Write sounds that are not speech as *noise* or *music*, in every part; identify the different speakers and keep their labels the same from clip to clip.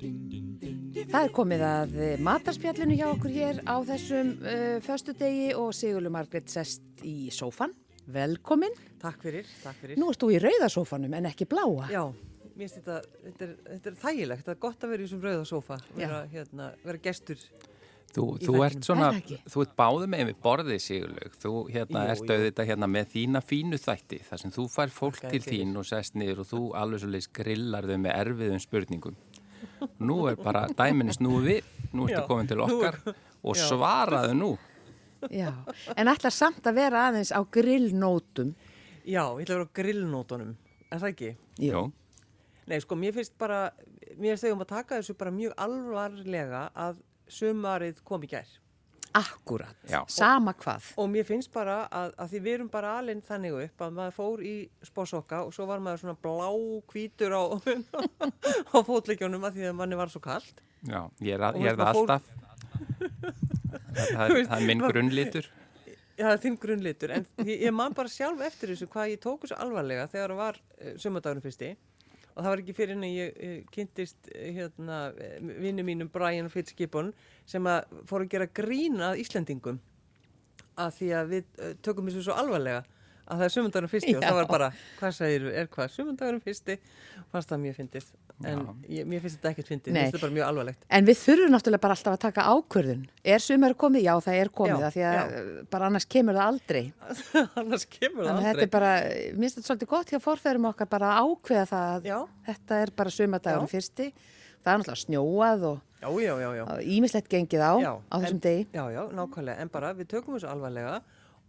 Speaker 1: Það er komið að eh, matarspjallinu hjá okkur hér á þessum uh, föstudegi og Sigurlu Margrét sest í sófan. Velkomin.
Speaker 2: Takk fyrir, takk fyrir.
Speaker 1: Nú erst þú í rauðasófanum en ekki bláa.
Speaker 2: Já, mér finnst þetta, þetta er, þetta er þægilegt, það er gott að vera í þessum rauðasófa, vera, hérna, vera gestur.
Speaker 3: Þú,
Speaker 2: í
Speaker 3: þú ert
Speaker 2: þættinum.
Speaker 3: svona,
Speaker 1: Er það ekki?
Speaker 3: þú ert báðu með við borðið sigurlaug, þú hérna
Speaker 2: Jú,
Speaker 3: ert
Speaker 2: jú.
Speaker 3: auðvitað hérna með þína fínu þætti þar sem þú fær fólk
Speaker 2: Þakka
Speaker 3: til
Speaker 2: þér fyrir.
Speaker 3: þín og sest niður og þú alveg svolítið grillar þau með erfiðum spurningum. Nú er bara dæminni snúið við, nú ertu
Speaker 2: Já.
Speaker 3: komin til
Speaker 2: Nú er-
Speaker 3: okkar og
Speaker 2: Já.
Speaker 3: svaraðu nú.
Speaker 1: Já. En ætlar samt að vera aðeins á grillnótum.
Speaker 2: Já, ég ætla að vera á grillnótonum, er það ekki?
Speaker 3: Jú.
Speaker 2: Nei, sko, mér finnst bara, mér finnst þau um að taka þessu bara mjög alvarlega að sumarið kom í gær.
Speaker 1: Akkurat.
Speaker 3: Já.
Speaker 1: Sama hvað.
Speaker 2: Og mér finnst bara að, að því við erum bara alinn þannig upp að maður fór í spósokka og svo var maður svona blá hvítur á, *laughs* á fótleikjónum að því að manni var svo kallt.
Speaker 3: Já, ég er,
Speaker 2: Og
Speaker 3: að, ég
Speaker 2: veist,
Speaker 3: er það
Speaker 2: maður fór-
Speaker 3: alltaf.
Speaker 2: *laughs*
Speaker 3: Það, það,
Speaker 2: Þú
Speaker 3: er-
Speaker 2: veist,
Speaker 3: það er minn
Speaker 2: maður-
Speaker 3: grunnlitur.
Speaker 2: Já, það er þinn grunnlitur, en ég, ég man bara sjálf eftir þessu hvað ég tók þessu alvarlega þegar það var uh, sömudagurinn fyrsti og það var ekki fyrir en ég uh, kynntist uh, hérna, vinnu mínum Brian Fitzgibbon sem að fór að gera grína að Íslendingum að því að við uh, tökum þessu svo alvarlega að það er sömundagurinn fyrsti og það
Speaker 1: Já.
Speaker 2: var bara, hvað segir, er hvað, sömundagurinn fyrsti fannst það mjög fyndið, en ég, mér finnst þetta ekkert fyndið,
Speaker 1: Nei.
Speaker 2: mér finnst þetta bara mjög alvarlegt. *laughs*
Speaker 1: En við þurfum náttúrulega bara alltaf að taka ákvörðun. Er sumar komið? Já, það er komið.
Speaker 2: Já,
Speaker 1: af Því að
Speaker 2: já.
Speaker 1: bara annars kemur það aldrei.
Speaker 2: Annars
Speaker 1: Þannig
Speaker 2: kemur það
Speaker 1: að þetta
Speaker 2: aldrei.
Speaker 1: er bara, mér finnst þetta svolítið gott hjá forfærum okkar bara að ákveða það að
Speaker 2: Já.
Speaker 1: þetta er bara sömadagurinn fyrsti. Það er náttúrulega snjóað og
Speaker 2: Já, já, já, já.
Speaker 1: og ýmislegt gengið á
Speaker 2: Já,
Speaker 1: á þessum
Speaker 2: en,
Speaker 1: degi.
Speaker 2: Já, já, nákvæmlega, en bara við tökum þessu alvarlega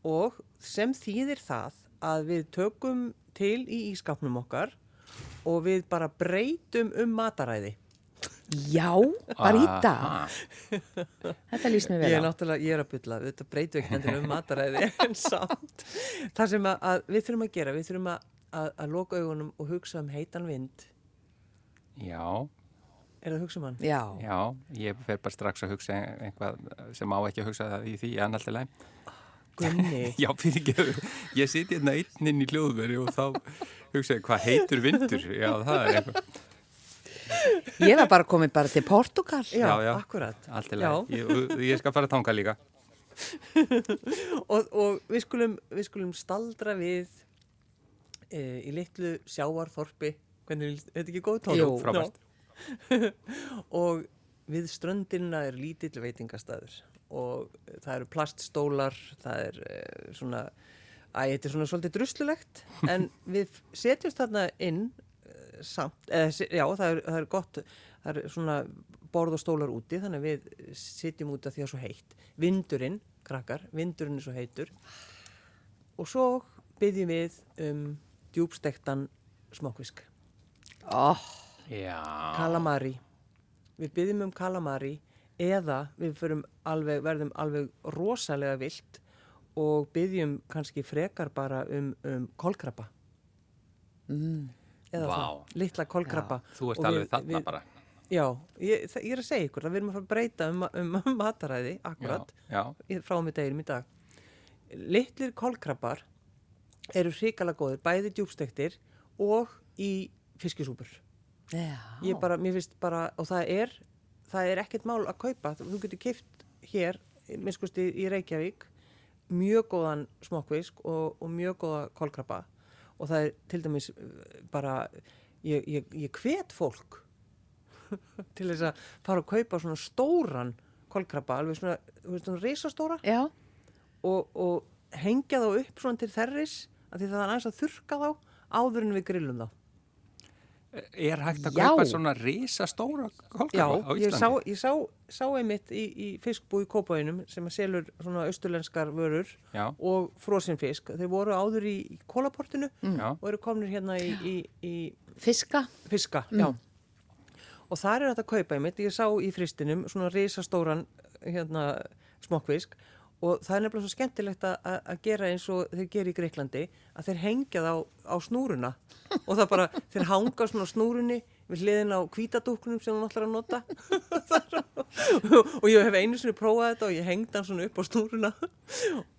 Speaker 2: og sem þýðir það að við tökum til í ískapnum okkar og við bara breytum um mataræði.
Speaker 1: Já, bara
Speaker 3: Ah.
Speaker 1: í dag.
Speaker 3: Aha.
Speaker 1: Þetta líst mér
Speaker 2: Ég er
Speaker 1: vel á.
Speaker 2: náttúrulega, ég er að bylla, við þetta breytum ekki endur um mataræði *laughs* en samt. Það sem að, að við þurfum að gera, við þurfum að, að, að loka augunum og hugsa um heitan vind.
Speaker 3: Já,
Speaker 2: Er það að hugsa um hann?
Speaker 1: Já,
Speaker 3: já, ég fer bara strax að hugsa einhvað sem á ekki að hugsa það í því annaltilega.
Speaker 2: Gunni.
Speaker 3: Já, fyrir ekki, ég siti hérna einn inn í hljóðveri og þá hugsa ég, hvað heitur vindur? Já, það er eitthvað.
Speaker 1: ég var bara komin bara til Portugal.
Speaker 2: Já, akkúrat.
Speaker 3: Allt í
Speaker 2: Já.
Speaker 3: lagi. Ég, ég skal fara þangað líka.
Speaker 2: og, og við, skulum, við skulum staldra við e, í litlu sjáarþorpi hvernig, er þetta ekki góð tónum?
Speaker 3: Jú, frábært.
Speaker 2: og við ströndina er lítill veitingastæður og það eru plaststólar, það er e, svona, æ, þetta er svona svolítið druslulegt, en við setjumst þarna inn eh, samt, eða, se- já, það er, það er gott það er svona borð og stólar úti þannig að við sitjum út af því að það er svo heitt vindurinn, krakkar, vindurinn er svo heitur og svo byggjum við um djúbstektan smokkvisk
Speaker 1: Ó,
Speaker 3: Já.
Speaker 2: kalamari við byggjum um kalamari eða við förum alveg, verðum alveg rosalega vilt og byggjum kannski frekar bara um, um kolkrabba mm. eða
Speaker 3: Vá.
Speaker 2: það, litla kolkrabba
Speaker 3: Þú ert
Speaker 2: Og
Speaker 3: alveg
Speaker 2: við-
Speaker 3: þarna
Speaker 2: við-
Speaker 3: bara.
Speaker 2: Já, ég, það- ég er að segja ykkur, það við erum að fara að breyta um, um *laughs* mataræði, akkurat,
Speaker 3: Já,
Speaker 2: í- frá með deginum í dag. Littlir kolkrabbar eru hrikalega góðir, bæði djúbstektir og í fiskisúpur.
Speaker 1: já.
Speaker 2: Ég bara, mér finnst bara, og það er, það er ekkert mál að kaupa, þú getur kipt hér, minnst skusti í Reykjavík, mjög góðan smokkvisk og, og mjög góða kolkrabba og það er til dæmis uh, bara, ég, ég, ég hvet fólk *laughs* til þess að fara að kaupa svona stóran kolkrabba, alveg svona, þú veist, svona risastóra
Speaker 1: Já,
Speaker 2: og, og hengja þá upp svona til þerris, af því það er aðeins að þurka þá áður en við grillum þá.
Speaker 3: Er hægt að
Speaker 1: Já.
Speaker 3: kaupa svona risastóra
Speaker 2: Já,
Speaker 3: kolkrafa á Íslandi?
Speaker 2: ég sá, ég sá, sá einmitt í, í fiskbúi kópaðinum sem að selur svona austurlenskar vörur
Speaker 3: Já.
Speaker 2: og frosin fisk. Þeir voru áður í, í kólaportinu
Speaker 3: Mm. Já.
Speaker 2: og eru komnir hérna í, í, í
Speaker 1: fiska.
Speaker 2: fiska. Já. Og þar er þetta að kaupa einmitt, ég sá í fristinum svona risastóran hérna, smokkfisk og það er nefnilega svo skemmtilegt að- að að gera eins og þeir gera í Greiklandi að þeir hengja þá á snúruna og það bara, þeir hanga svona á snúrunni við hliðin á hvítadúknum sem hún ætlar að nota Það er- og ég hef einu sinni prófað þetta og ég hengd hann svona upp á snúruna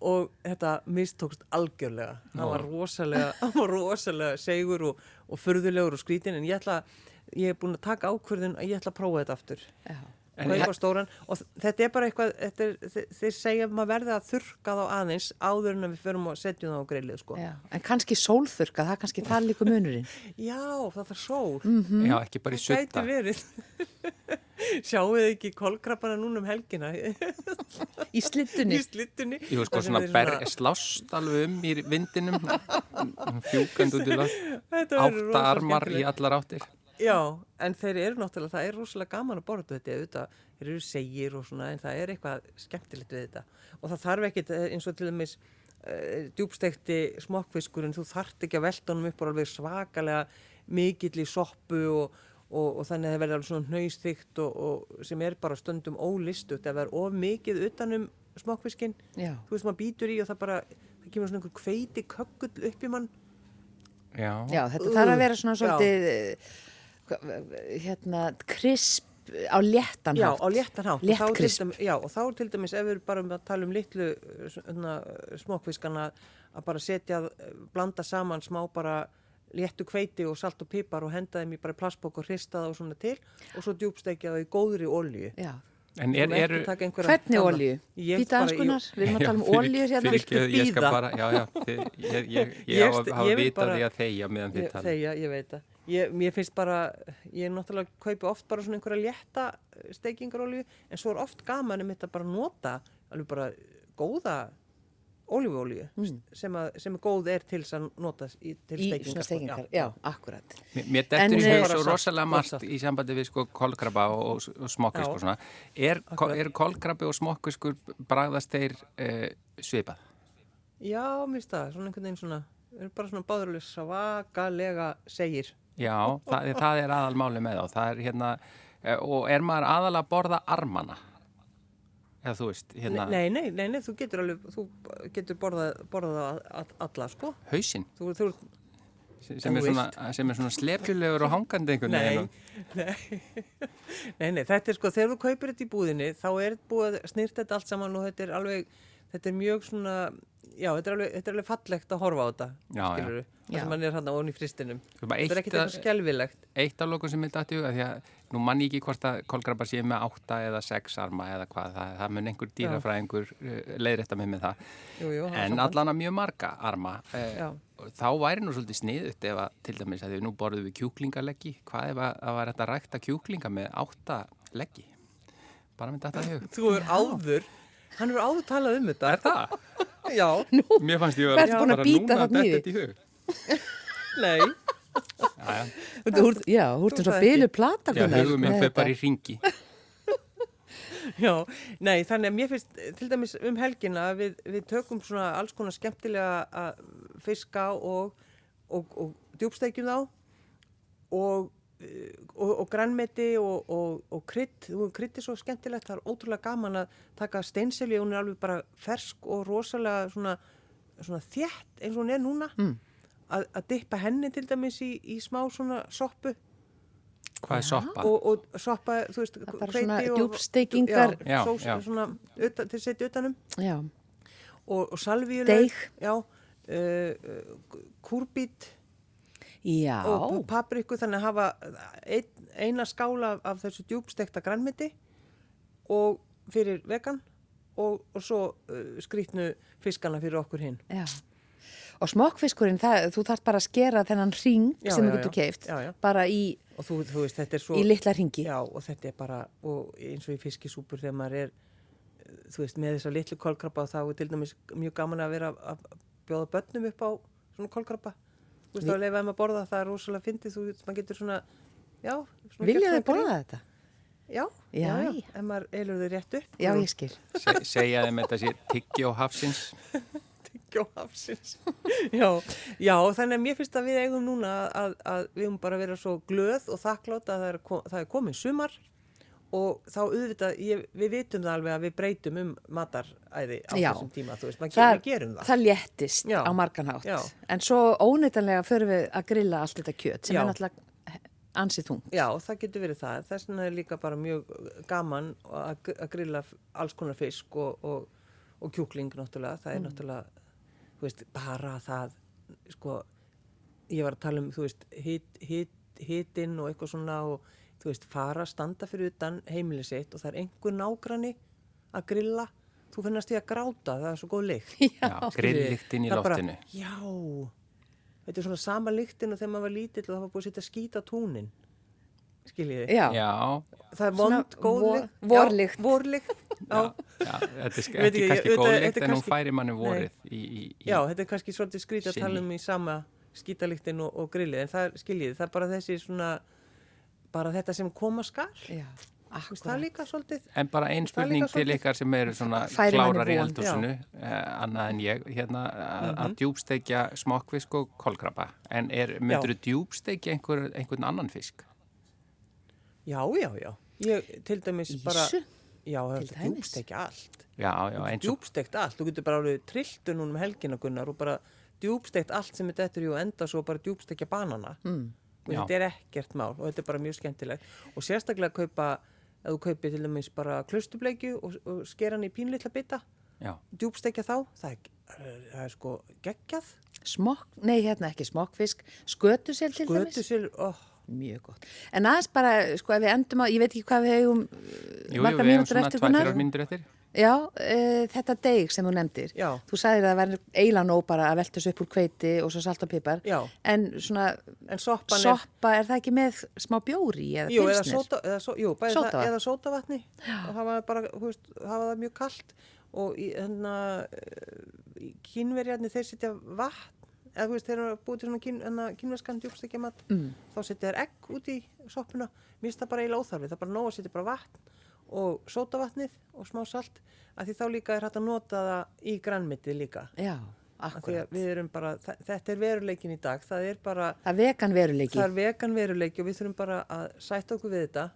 Speaker 2: og þetta mistókst algjörlega hann var rosalega, *laughs* hann var rosalega segur og, og furðulegur og skrítin en ég ætla, ég er búin að taka ákvörðun að ég ætla að prófa þetta aftur
Speaker 1: Já.
Speaker 3: En
Speaker 2: kaupa
Speaker 3: ég-
Speaker 2: stóran og þ- þetta er bara eitthvað þetta er, þe- þeir segja að maður verði að þurrka þá aðeins áður en að við förum og setjum það á grillið sko.
Speaker 1: Já. En kannski sólþurka, það er kannski það líka munurinn.
Speaker 2: Já, það þarf sól
Speaker 3: Já, ekki bara í
Speaker 2: Mhm. Það gæti
Speaker 3: sutta.
Speaker 2: verið *laughs* Sjáu þið ekki kolkrabbana núna um helgina í
Speaker 1: Í slittunni.
Speaker 2: slittunni
Speaker 3: Jú, sko,
Speaker 2: Þar sem
Speaker 3: svona
Speaker 2: þeir
Speaker 3: ber, slást alveg um í vindinum, fjúkand út í lag,
Speaker 2: *laughs* Þetta verður
Speaker 3: átta
Speaker 2: rosa
Speaker 3: armar í
Speaker 2: skemmtilegt.
Speaker 3: allar áttir.
Speaker 2: Já, en þeir eru náttúrulega, það er rosalega gaman að borða þetta auðvitað, þeir eru segir og svona en það er eitthvað skemmtilegt við þetta og það þarf ekkit eh, eins og til dæmis uh, djúbstekti smokkfiskur en þú þart ekki að velta honum upp og alveg svakalega mikill í soppu og, og, og þannig að það verður alveg svona hnausþygt og, og sem er bara stundum ólistut ef það er of mikið utanum smokkfiskinn
Speaker 1: Já.
Speaker 2: þú veist maður býtur í og það bara það kemur svona einhver hveiti kökkull upp í mann
Speaker 3: Já,
Speaker 1: Já, þetta þarf að vera svona
Speaker 2: Já.
Speaker 1: svolítið, eh, hérna, krisp á léttan
Speaker 2: Já,
Speaker 1: hátt.
Speaker 2: á léttan hátt.
Speaker 1: Létt
Speaker 2: Þá er til
Speaker 1: krisp.
Speaker 2: dæmis- Já, og þá er til dæmis ef við erum bara um að tala um litlu uh, svona, uh, smokkfiskana að bara setja, uh, blanda saman smá bara léttu hveiti og salt og pipar og henda þeim í bara plassbók og hrista það og svona til og svo djúbstekja það í góðri olju.
Speaker 1: Já.
Speaker 3: en er, eru...
Speaker 1: Hvernig olju? Býta anskunar, við erum að tala um olju hérna.
Speaker 3: Fyrir,
Speaker 2: Viltu
Speaker 3: ég skal
Speaker 2: bíða?
Speaker 3: bara, já, já, þið, ég, ég,
Speaker 2: *laughs*
Speaker 3: ég,
Speaker 2: Ég
Speaker 3: á að
Speaker 2: st-
Speaker 3: hafa
Speaker 2: ég vil
Speaker 3: vitað
Speaker 2: bara-
Speaker 3: því að þeia meðan þið
Speaker 2: Ég,
Speaker 3: tala.
Speaker 2: þegar, ég veit það. Ég, ég finnst bara, ég náttúrulega kaupi oft bara svona einhverja létta steikingarolju en svo er oft gaman um þetta bara að nota alveg bara góða oljuolju sem, að, sem er góð er til þess að nota í, til
Speaker 1: Hmm. Í
Speaker 2: steikingar.
Speaker 1: svona
Speaker 2: sko.
Speaker 1: stekingar, já, akkurat.
Speaker 3: Mér- Mér
Speaker 1: En,
Speaker 3: dettur í
Speaker 1: eh,
Speaker 3: hug
Speaker 2: Bara
Speaker 3: svo
Speaker 2: satt,
Speaker 3: rosalega
Speaker 2: gott satt.
Speaker 3: margt í sambandi við sko kolkrabba og, og, og smokkvisk
Speaker 2: Já.
Speaker 3: og svona. Er, ko- er kolkrabbi og smokkviskur bragðast þeir uh, svipað?
Speaker 2: Já, mér finnst það, svona einhvern veginn svona, er bara svona báðurlega svakalega segir.
Speaker 3: Já, það, það er aðalmáli með þá. Það er hérna, eh, og er maður aðal að borða armana? Eða þú veist, hérna,
Speaker 2: Nei, nei, nei, nei, þú getur alveg, þú getur borðað, borðað að- alla, sko.
Speaker 3: hausinn,
Speaker 2: Þú, þú,
Speaker 3: sem er
Speaker 2: Þú
Speaker 3: svona, sem er svona slepjulegur og hangandi einhvern
Speaker 2: Nei,
Speaker 3: veginn.
Speaker 2: nei, nei, *laughs* nei, þetta er sko, þegar þú kaupir þetta í búðinni þá er búið að snýrt þetta allt saman og þetta er alveg, þetta er mjög svona, já, þetta er alveg, þetta er alveg fallegt að horfa á þetta,
Speaker 3: Já, já.
Speaker 2: skilurðu, það
Speaker 1: Já.
Speaker 2: sem mann er hann á onni fristinum.
Speaker 3: Þú bara
Speaker 2: Þetta er
Speaker 3: eitt
Speaker 2: ekkert
Speaker 3: að-
Speaker 2: eitthvað skelvilegt.
Speaker 3: Eitt af lokum sem ég dætti að því að nú mann ég ekki hvort að kolkrabbar séu með átta eða sex arma eða hvað, það, það mun einhver dýrafræðingur uh, leiðrætta mig með það.
Speaker 2: Jú, jú, hafa
Speaker 3: en
Speaker 2: samband.
Speaker 3: allan að mjög marga arma.
Speaker 2: Já.
Speaker 3: Uh, þá væri nú svolítið sniðut ef að til dæmis að því nú borðum við kjúklingaleggi, hvað ef að það var þetta rækta kjúklinga með átta leggi? Bara með þetta hug.
Speaker 2: Þú er áður, hann er áður talað um þetta.
Speaker 3: Er það?
Speaker 2: Já,
Speaker 3: Mér fannst ég
Speaker 1: Hvað ertu búin að bíta þarna í
Speaker 3: í hug.
Speaker 2: nei,
Speaker 3: Já, já.
Speaker 1: Þú- þú ert- Já, hú ertu
Speaker 2: Þú
Speaker 1: svo
Speaker 2: það
Speaker 1: bylu plata
Speaker 3: Já, hugum minn
Speaker 1: með
Speaker 3: fyrir
Speaker 1: þetta.
Speaker 3: bara í ringi.
Speaker 2: já, nei, þannig að mér finnst eh, til dæmis um helgina að við, við tökum svona alls konar skemmtilega að fiska og, og, og djúbstækjum þá og, eh, og, og grænmeti og, og, og krydd, þú veist, krydd er svo skemmtilegt, það er ótrúlega gaman að taka steinselju, hún er alveg bara fersk og rosalega svona, svona þétt eins og hún er núna, mm. að, að dippa henni til dæmis í, í smá svona soppu
Speaker 3: Hvað er soppa?
Speaker 2: og, og soppa, þú veist,
Speaker 1: er bara
Speaker 2: hveiti
Speaker 1: svona
Speaker 2: og-
Speaker 1: djúpsteikingar-
Speaker 2: já,
Speaker 3: Já,
Speaker 2: sós,
Speaker 3: já.
Speaker 2: svona, utan, til setja utanum
Speaker 1: Já,
Speaker 2: og, og salvíu
Speaker 1: Deig.
Speaker 2: já, uh, kúrbít
Speaker 1: já,
Speaker 2: og pa- papriku þannig að hafa ein, eina skála af þessu djúbstekta grænmiti og fyrir vegan og, og svo uh, skrýtnu fiskana fyrir okkur hinn
Speaker 1: já. Og smokkfiskurinn, það, þú þarft bara að skera þennan ring
Speaker 2: Já,
Speaker 1: sem þú
Speaker 2: já,
Speaker 1: getur
Speaker 2: já.
Speaker 1: keift,
Speaker 2: Já, já.
Speaker 1: bara í,
Speaker 2: og þú, þú veist þetta er svo
Speaker 1: í litla ringi.
Speaker 2: já og þetta er bara og eins og í fiskisúpur þegar maður er uh, þú veist með þessa litlu kolkrabba þá er til dæmis mjög gaman að vera að að bjóða börnum upp á svona kolkrabba þú veist þá leifaði maður að borða það er rosalega fyndið þú veist maður getur svona já svona gert
Speaker 1: Vilja
Speaker 2: það
Speaker 1: þið
Speaker 2: í grín.
Speaker 1: borða þetta?
Speaker 2: Já,
Speaker 1: Já,
Speaker 2: já, já,
Speaker 1: í.
Speaker 2: en maður eilur þau rétt upp
Speaker 1: Já, ég skil.
Speaker 3: Se, segja þeim þetta sé tyggjó hafsins.
Speaker 2: Tyggjó hafsins. *laughs* já, já, þannig að mér finnst að við eigum núna að, að við um bara að vera svo glöð og þakklátt að það er, ko- það er komið sumar og þá auðvitað, ég, við vitum það alveg að við breytum um mataræði á
Speaker 1: Já.
Speaker 2: þessum tíma, þú veist, maður
Speaker 1: það,
Speaker 2: gerir, gerum það.
Speaker 1: það léttist
Speaker 2: Já.
Speaker 1: á margan hátt
Speaker 2: Já.
Speaker 1: en svo óneitanlega förum við að grilla allt þetta kjöt sem
Speaker 2: Já.
Speaker 1: er náttúrulega ansið þung.
Speaker 2: Já, það getur verið það. Þess vegna er líka bara mjög gaman að, gr- að grilla f- alls konar fisk og, og, og kjúkling náttúrulega. Það er náttúrulega, þú veist, bara það, sko, ég var að tala um, þú veist, hit, hit, hitinn og eitthvað svona og, þú veist, fara standa fyrir utan heimilið sitt og það er einhver nágrani að grilla. Þú finnast því að gráta, það er svo góð lykt.
Speaker 3: Já, grillíktin í
Speaker 2: Það bara,
Speaker 3: loftinu.
Speaker 2: já, þetta er svona sama lyktin og þegar maður var lítill og það var búið að setja skít á túnin. Skiljiði?
Speaker 1: Já,
Speaker 3: Já,
Speaker 2: Það er
Speaker 1: Svona
Speaker 2: vond, góð
Speaker 1: vor-
Speaker 2: lykt.
Speaker 1: vorlykt.
Speaker 2: Já,
Speaker 3: *laughs*
Speaker 2: Vorlykt, já.
Speaker 3: já, þetta er
Speaker 2: Ég
Speaker 3: sk-
Speaker 2: veit
Speaker 3: ekki
Speaker 2: ekki,
Speaker 3: kannski
Speaker 2: ég-
Speaker 3: góð
Speaker 2: auðvitað-
Speaker 3: lykt
Speaker 2: þetta er
Speaker 3: en hún
Speaker 2: kannski-
Speaker 3: færi manni
Speaker 2: Nei.
Speaker 3: vorið í, í, í,
Speaker 2: Já, þetta er kannski svolítið skrítið að
Speaker 3: Sinni.
Speaker 2: tala um í sama skítalyktin og, og grillið, en það er, skiljiði, það er bara þessi svona, bara þetta sem koma skall.
Speaker 1: já,
Speaker 2: Þú veist, Það er
Speaker 1: akkurat.
Speaker 2: líka svolítið.
Speaker 3: En bara einn
Speaker 2: Það er líka
Speaker 3: spurning til
Speaker 2: svolítið-
Speaker 3: ykkar sem eru svona
Speaker 1: Færir manni
Speaker 3: klárar í
Speaker 1: von,
Speaker 3: eldhúsinu, uh, annað en ég, hérna, að mm
Speaker 2: Mhm.
Speaker 3: -hmm. djúbstekja smokkfisk og kolkrabba. En er, myndur þú djúbstekja einhver, einhvern annan fisk?
Speaker 2: Já, já, já. Ég, til dæmis bara...
Speaker 1: Ýsu?
Speaker 2: Já,
Speaker 1: Til
Speaker 2: þetta
Speaker 1: dæmis.
Speaker 2: djúbst ekki allt.
Speaker 3: Já, já, eins og,
Speaker 2: djúbsteikt allt, þú getur bara alveg trilltu núna um helgina Gunnar og bara djúbsteikt allt sem þetta er í og enda svo bara djúbsteikja banana mm. og
Speaker 3: Já.
Speaker 2: þetta er ekkert mál og þetta er bara mjög skemmtilegt og sérstaklega að kaupa að þú kaupir til dæmis bara klustubleikju og, og sker hann í pínlitla bita
Speaker 3: já,
Speaker 2: djúbsteikja þá, það er, það er sko geggjað,
Speaker 1: Smokk, nei hérna ekki smokkfisk, skötusel til dæmis.
Speaker 2: götu sér oh,
Speaker 1: Mjög gott. En aðeins bara, sko, ef við endum á, ég veit ekki hvað við hefum
Speaker 3: jú, jú, við hefum svona 2-3 mínútur eftir.
Speaker 1: Já, e, þetta deg sem þú nefndir.
Speaker 2: Já.
Speaker 1: Þú sagðir að það væri eiginlega nóg bara að velta þessu upp úr kveiti og svo salt og pipar.
Speaker 2: Já.
Speaker 1: En svona,
Speaker 2: en soppan er
Speaker 1: soppa, er það ekki með smá bjóri eða
Speaker 2: Jú, eða,
Speaker 1: pilsnir?
Speaker 2: sóta, eða, só, jú, bæði það,
Speaker 1: Sódavatn.
Speaker 2: eða sótavatni og hafa, það bara, þú veist, hafa það mjög kalt og í, hérna, eh, kínverjarnir þeir setja vatn eða þú veist, þeir eru búið til svona kín, hérna, kínverskan djúbstekja mat mm. þá setja þeir egg út í soppuna mér finnst það bara eiginlega óþarfi, það er bara nóg að setja bara vatn og sótavatnið og smá salt af því þá líka er hægt að nota það í grannmitið líka
Speaker 1: Já,
Speaker 2: Af því
Speaker 1: akkurat.
Speaker 2: að við erum bara, þa- þetta er veruleikin í dag það er bara
Speaker 1: Það er vegan veruleiki.
Speaker 2: Það er vegan veruleiki og við þurfum bara að sætta okkur við þetta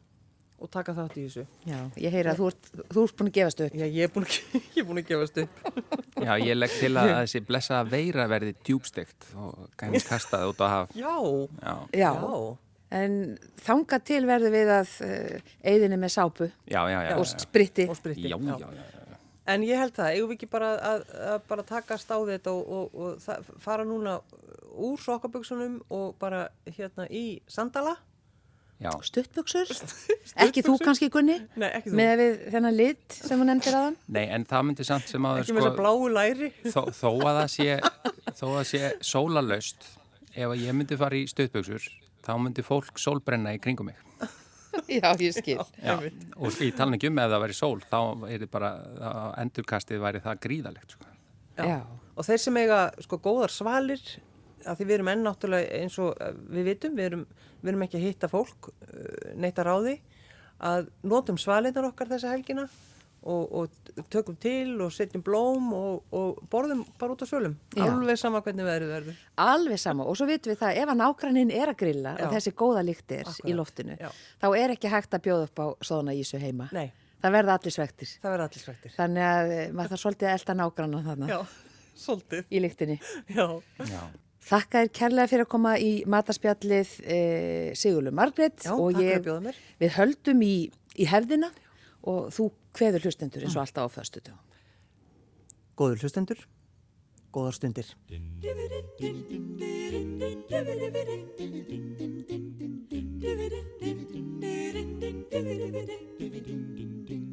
Speaker 2: og taka þátt í þessu.
Speaker 1: Já, ég heyri að þú ert, þú ert búin að gefast upp.
Speaker 2: Já, ég er búin að, *laughs* ég er búin að gefast upp.
Speaker 3: Já, ég legg til að að þessi blessa veira verði djúbstekt og kannski kastað út á haf.
Speaker 2: Já.
Speaker 3: Já,
Speaker 1: Já. En þanga til verðum við að uh, eigðinni með sápu
Speaker 3: já, já, já.
Speaker 1: og spritti.
Speaker 2: Og spritti.
Speaker 3: Já, já, já, já. já.
Speaker 2: En ég held það, eigum við ekki bara að, að bara taka stáðið þetta og, og, og það, fara núna úr sokkaböksunum og bara hérna í sandala?
Speaker 3: já.
Speaker 1: Stuttbuksur? Ekki þú kannski, Gunni?
Speaker 2: Nei, ekki þú.
Speaker 1: Með við þennan lit sem hún nefndir
Speaker 2: *laughs*
Speaker 1: aðan?
Speaker 3: Nei, en það myndi samt sem áður sko,
Speaker 2: Ekki með þess að bláu læri?
Speaker 3: þó, þó að það sé, þó að það sé sólalaust, ef að ég myndi fara í stöðböksur, þá myndi fólk sólbrenna í kringum mig.
Speaker 1: Já, ég skil.
Speaker 3: Já, og ég tala ekki um ef það væri sól, þá er þið bara, þá- endurkastið væri það gríðalegt. Sko.
Speaker 1: Já.
Speaker 2: Og þeir sem eiga sko góðar svalir, að því við erum enn náttúrulega eins og eh, við vitum, við erum, við erum ekki að hitta fólk eh, neitt að ráði, að notum svalinnar okkar þessa helgina og, og tökum til og setjum blóm og, og borðum bara út á sölum.
Speaker 1: Já.
Speaker 2: Alveg sama hvernig veðrið verður.
Speaker 1: Alveg sama og svo vitum við það ef að nágrannin er að grilla og
Speaker 2: Já.
Speaker 1: þessi góða lyktir í
Speaker 2: Akkurat.
Speaker 1: loftinu
Speaker 2: Já.
Speaker 1: þá er ekki hægt að bjóða upp á svona ísu heima.
Speaker 2: Nei.
Speaker 1: Það verða allir svektir.
Speaker 2: Það verður allir svættir.
Speaker 1: Þannig að eh, maður þarf svolítið að elda nágrannan þarna
Speaker 2: Já, *laughs* svolítið.
Speaker 1: í lyktinni.
Speaker 2: Já.
Speaker 3: Já.
Speaker 1: Þakka þér kærlega fyrir að koma í matarspjallið e, Sigurlu Margrét
Speaker 2: Já,
Speaker 1: og
Speaker 2: takk fyrir
Speaker 1: ég,
Speaker 2: að bjóða mér.
Speaker 1: við höldum í, í hefðina og þú kveður hlustendur eins og alltaf á föstutum.
Speaker 2: Góður hlustendur, góðar stundir.
Speaker 4: Dividend,